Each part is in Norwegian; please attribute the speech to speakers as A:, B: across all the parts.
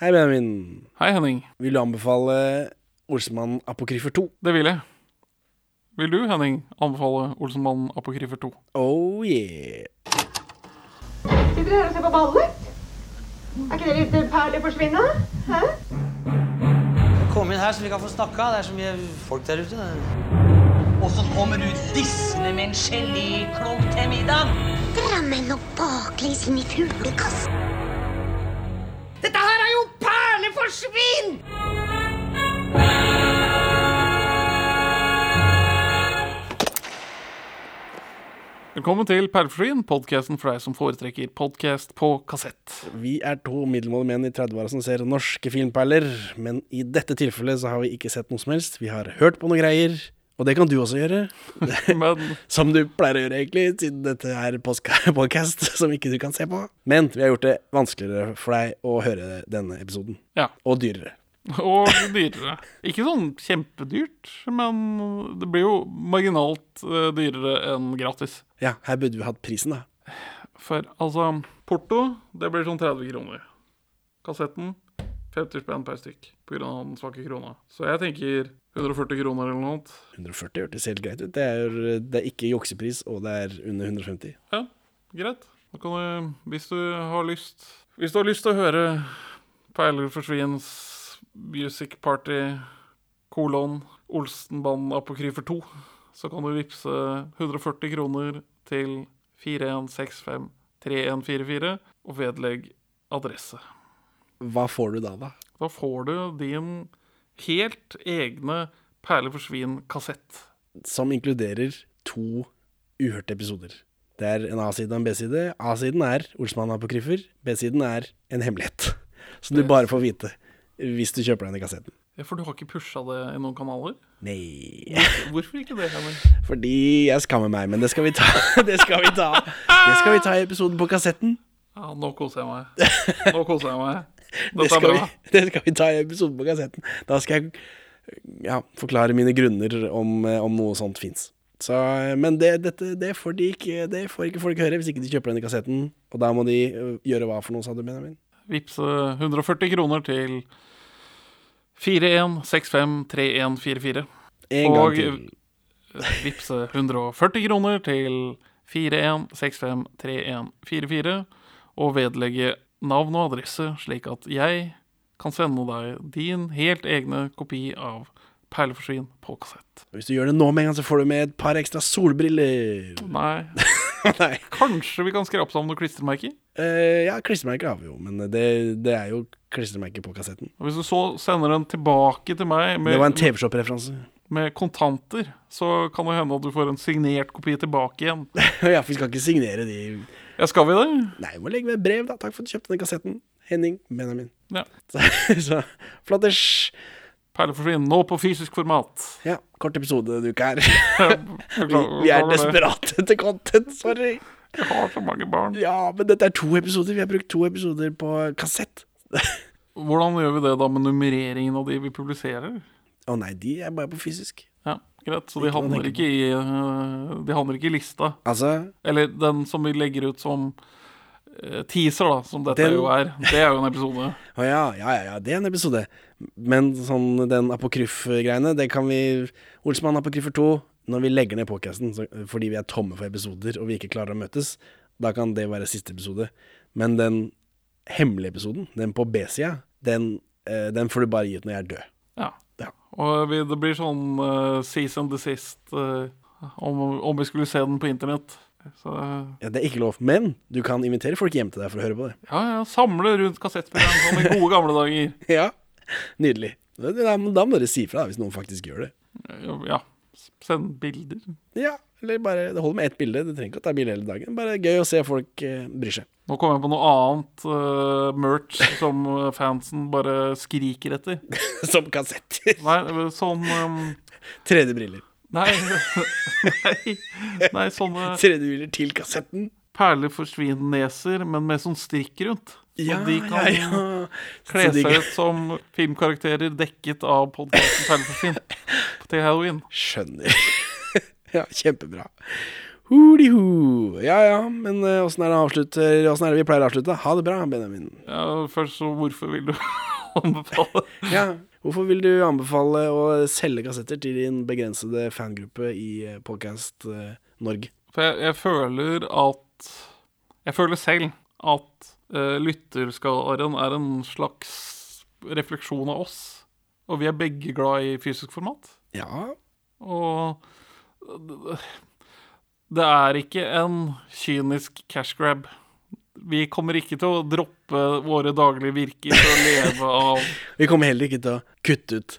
A: Hei, Benjamin.
B: Hei, Henning.
A: Vil du anbefale Olsemann Apokryfer 2?
B: Det vil jeg. Vil du, Henning, anbefale Olsenmannen Apokryfer 2?
A: Oh yeah.
C: Sitter dere her og ser på ballet? Er ikke det litt perler forsvinne? Hæ?
D: Kom inn her så vi kan få snakka. Det er så mye folk der ute.
E: Og så kommer du dissende med en geléklump til middag.
F: Drammen og baklengs inn i fuglekassen.
E: Dette her er jo perleforsvinn!
B: Velkommen til Perleflyen, podkasten for deg som foretrekker podkast på kassett.
A: Vi er to middelmådige menn i 30-åra som ser norske filmperler, men i dette tilfellet så har vi ikke sett noe som helst. Vi har hørt på noe greier, og det kan du også gjøre.
B: Men
A: Som du pleier å gjøre, egentlig, siden dette er podkast som ikke du kan se på. Men vi har gjort det vanskeligere for deg å høre denne episoden.
B: ja,
A: Og dyrere.
B: og dyrere. Ikke sånn kjempedyrt, men det blir jo marginalt eh, dyrere enn gratis.
A: Ja, her burde vi hatt prisen, da.
B: For altså, porto, det blir sånn 30 kroner. Kassetten 50 spenn per stykk pga. den svake krona. Så jeg tenker 140 kroner eller noe annet.
A: 140 hørtes helt greit ut. Det er, det er ikke juksepris, og det er under 150.
B: Ja, greit. Da kan du, hvis du har lyst Hvis du har lyst til å høre Peiler for Sviens Music Party kolon Olsenbanen Apokryfer 2, så kan du vippse 140 kroner til 41653144 og vedlegg adresse.
A: Hva får du da, da?
B: Da får du din helt egne Perler for svin-kassett.
A: som inkluderer to uhørte episoder. Det er en A-side og en B-side. A-siden er Olsmann apokryfer, B-siden er en hemmelighet. Som du bare får vite hvis du kjøper denne kassetten.
B: Ja, for du har ikke pusha det i noen kanaler?
A: Nei
B: Hvorfor ikke det, Henning?
A: Fordi jeg skammer meg, men det skal vi ta. Det skal vi ta Det skal vi ta i episoden på kassetten.
B: Ja, nå koser jeg meg. Nå koser jeg meg.
A: Det
B: Dette er
A: skal,
B: bra.
A: vi, det skal vi ta i episoden på kassetten. Da skal jeg ja, forklare mine grunner om, eh, om noe sånt fins. Så, eh, men det, dette, det, får de ikke, det får ikke folk høre hvis ikke de kjøper denne kassetten. Og da må de eh, gjøre hva for noe, sa du, Benjamin?
B: Vipse 140 kroner til 41653144.
A: En gang
B: Og-
A: til.
B: Vipse 140 kroner til 41653144. Og vedlegge navn og adresse, slik at jeg kan sende deg din helt egne kopi av Perleforsvin på kassett.
A: Hvis du gjør det nå med en gang, så får du med et par ekstra solbriller.
B: Nei,
A: Nei.
B: kanskje vi kan skrape sammen noen klistremerker?
A: Eh, ja, klistremerker har vi jo, men det, det er jo klistremerker på kassetten.
B: Og Hvis du så sender den tilbake til meg med
A: Det var en TV-shop-referanse.
B: med kontanter, så kan det hende at du får en signert kopi tilbake igjen.
A: ja, for vi skal ikke signere de
B: Ja, skal vi det?
A: Nei, vi må legge med et brev, da. Takk for at du kjøpte denne kassetten. Henning Benjamin.
B: Ja.
A: Så, så flotters.
B: Perleforsvinn, nå på fysisk format.
A: Ja, kort episode denne uka her. Vi,
B: Beklager-
A: vi er
B: beklager det.
A: desperate etter content, sorry.
B: Jeg har så mange barn.
A: Ja, men dette er to episoder. Vi har brukt to episoder på kassett.
B: Hvordan gjør vi det da med nummereringen av de vi publiserer?
A: Å nei, de er bare på fysisk.
B: Ja, greit, så de
A: Ikke noe å
B: havner
A: tenke
B: ikke i eh, De havner ikke i lista.
A: Altså,
B: Eller den som vi legger ut som eh, teaser, da, som dette
A: Den-
B: jo er. Det er jo en episode.
A: å ja, ja, ja, ja, det er en episode. Men sånn den apokryf-greiene, det kan vi Olsmann apokryfer 2, når vi legger ned podcasten så- fordi vi er tomme for episoder og vi ikke klarer å møtes, da kan det være siste episode. Men den hemmelige episoden, den på B-sida, den, eh, den får du bare gi ut når jeg er død.
B: Ja.
A: Ja.
B: Og vi, det blir sånn uh, cease and desist eh, om, om vi skulle se den på internett. Så eh,
A: Ja, det er ikke lov, men du kan invitere folk hjem til deg for å høre på det.
B: ja, ja, samle rundt kassettprogram som i gode gamle dager.
A: Ja, Nydelig. Da, da da må dere si fra da, hvis noen faktisk gjør det.
B: Ja. Send bilder.
A: Ja, eller bare, Det holder med ett bilde, det trenger ikke å ta bilde hele dagen. Bare gøy å se folk eh, bryr seg.
B: Nå kom jeg på noe annet eh, merch som eh, fansen bare skriker etter.
A: Som kassetter.
B: Nei, eh, sånn eh,
A: 3D-briller.
B: Nei. Nei, nei sånne
A: 3D-briller til kassetten.
B: perler for svinneser, men med sånn strikk rundt. Så de kan kle
A: Så de
B: seg
A: kan-
B: ut som filmkarakterer dekket av podkasten Perleforsvinn til halloween.
A: Skjønner. ja, kjempebra. Huli-ho. Ja ja, men eh, åssen er det avslutter Åssen er det vi pleier å avslutte? Ha det bra, Benjamin.
B: Ja, først så hvorfor vil du anbefale.
A: Ja. Hvorfor vil du anbefale å selge kassetter til din begrensede fangruppe i Podcast eh, Norge?
B: For jeg, jeg føler at Jeg føler selv at eh, lytterskaren er en slags refleksjon av oss. Og vi er begge glad i fysisk format.
A: Ja,
B: Og det- det er ikke en kynisk cash grab. Vi kommer ikke til å droppe våre daglige virker for å leve av
A: Vi kommer heller ikke til å kutte ut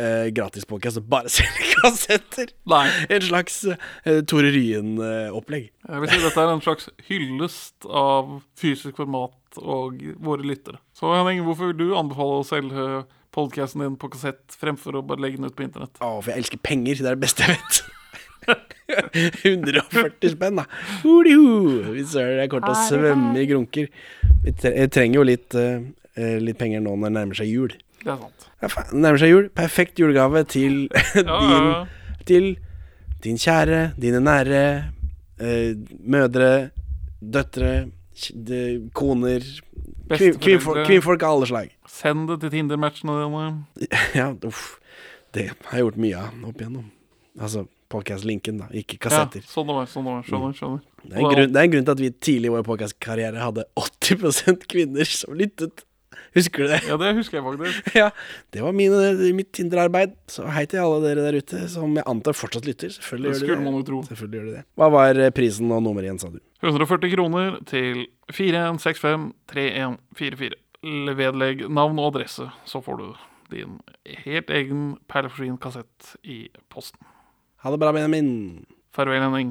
A: uh, gratis podcast og bare selge kassetter.
B: Nei.
A: En slags eh, Tore eh, Ryen-opplegg.
B: Jeg vil si dette er en slags hyllest av fysisk format og våre lyttere. Så Henning, hvorfor vil du anbefale å selge podkasten din på kassett fremfor å bare legge den ut på internett?
A: Å, for jeg elsker penger. Det er det beste jeg vet. 140 spenn, da. Hoodiho! Hvis søren, jeg kommer til å svømme i grunker. Vi tre- Jeg trenger jo litt, eh, eh, litt penger nå når det nærmer seg jul.
B: Det er sant.
A: Ja, faen, det nærmer seg jul. Perfekt julegave til din,
B: Ja, ja, ja.
A: til din kjære, dine nære, eh, mødre, døtre, kj- de, koner kvin,
B: Besteforeldre.
A: kvinnfolk, kvinnfolk av alle slag.
B: Send det til Tinder-matchene dine.
A: Ja, uff. Det har jeg gjort mye av opp igjennom. Altså podcast-linken, da, ikke
B: Ja,
A: kassetter.
B: sånn det var. sånn det var, Skjønner. skjønner.
A: Det, er en grunn, det er en grunn til at vi tidlig i vår podcast-karriere hadde 80 kvinner som lyttet. Husker du det?
B: Ja, det husker jeg faktisk.
A: Ja, det var mine, mitt Tinder-arbeid. Så hei til alle dere der ute, som jeg antar fortsatt lytter. Selvfølgelig
B: Det
A: gjør de
B: skulle man jo tro.
A: Selvfølgelig gjør de det. Hva var eh, prisen og nummeret igjen, sa du?
B: 140 kroner til 41653144. Vedlegg navn og adresse, så får du din helt egen perleforsynt-kassett i posten.
A: Ha det bra, Benjamin.
B: Farvel, Henning.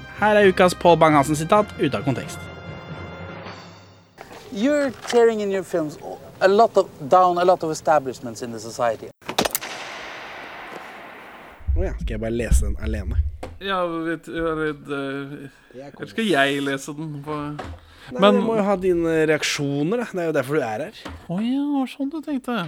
G: Her er ukas Pål Bang-Hansen-sitat ute av kontekst.
H: You're tearing in your films a lot of down a lot of establishments in the society.
A: Å ja, skal jeg bare lese den alene?
B: Ja, vet, jeg er redd, eh,
A: Jeg
B: eller skal jeg lese den? på...
A: Nei,
B: Men-
A: men du må jo ha dine reaksjoner, da. Det er jo derfor du er her.
B: Å ja, det var sånn du tenkte.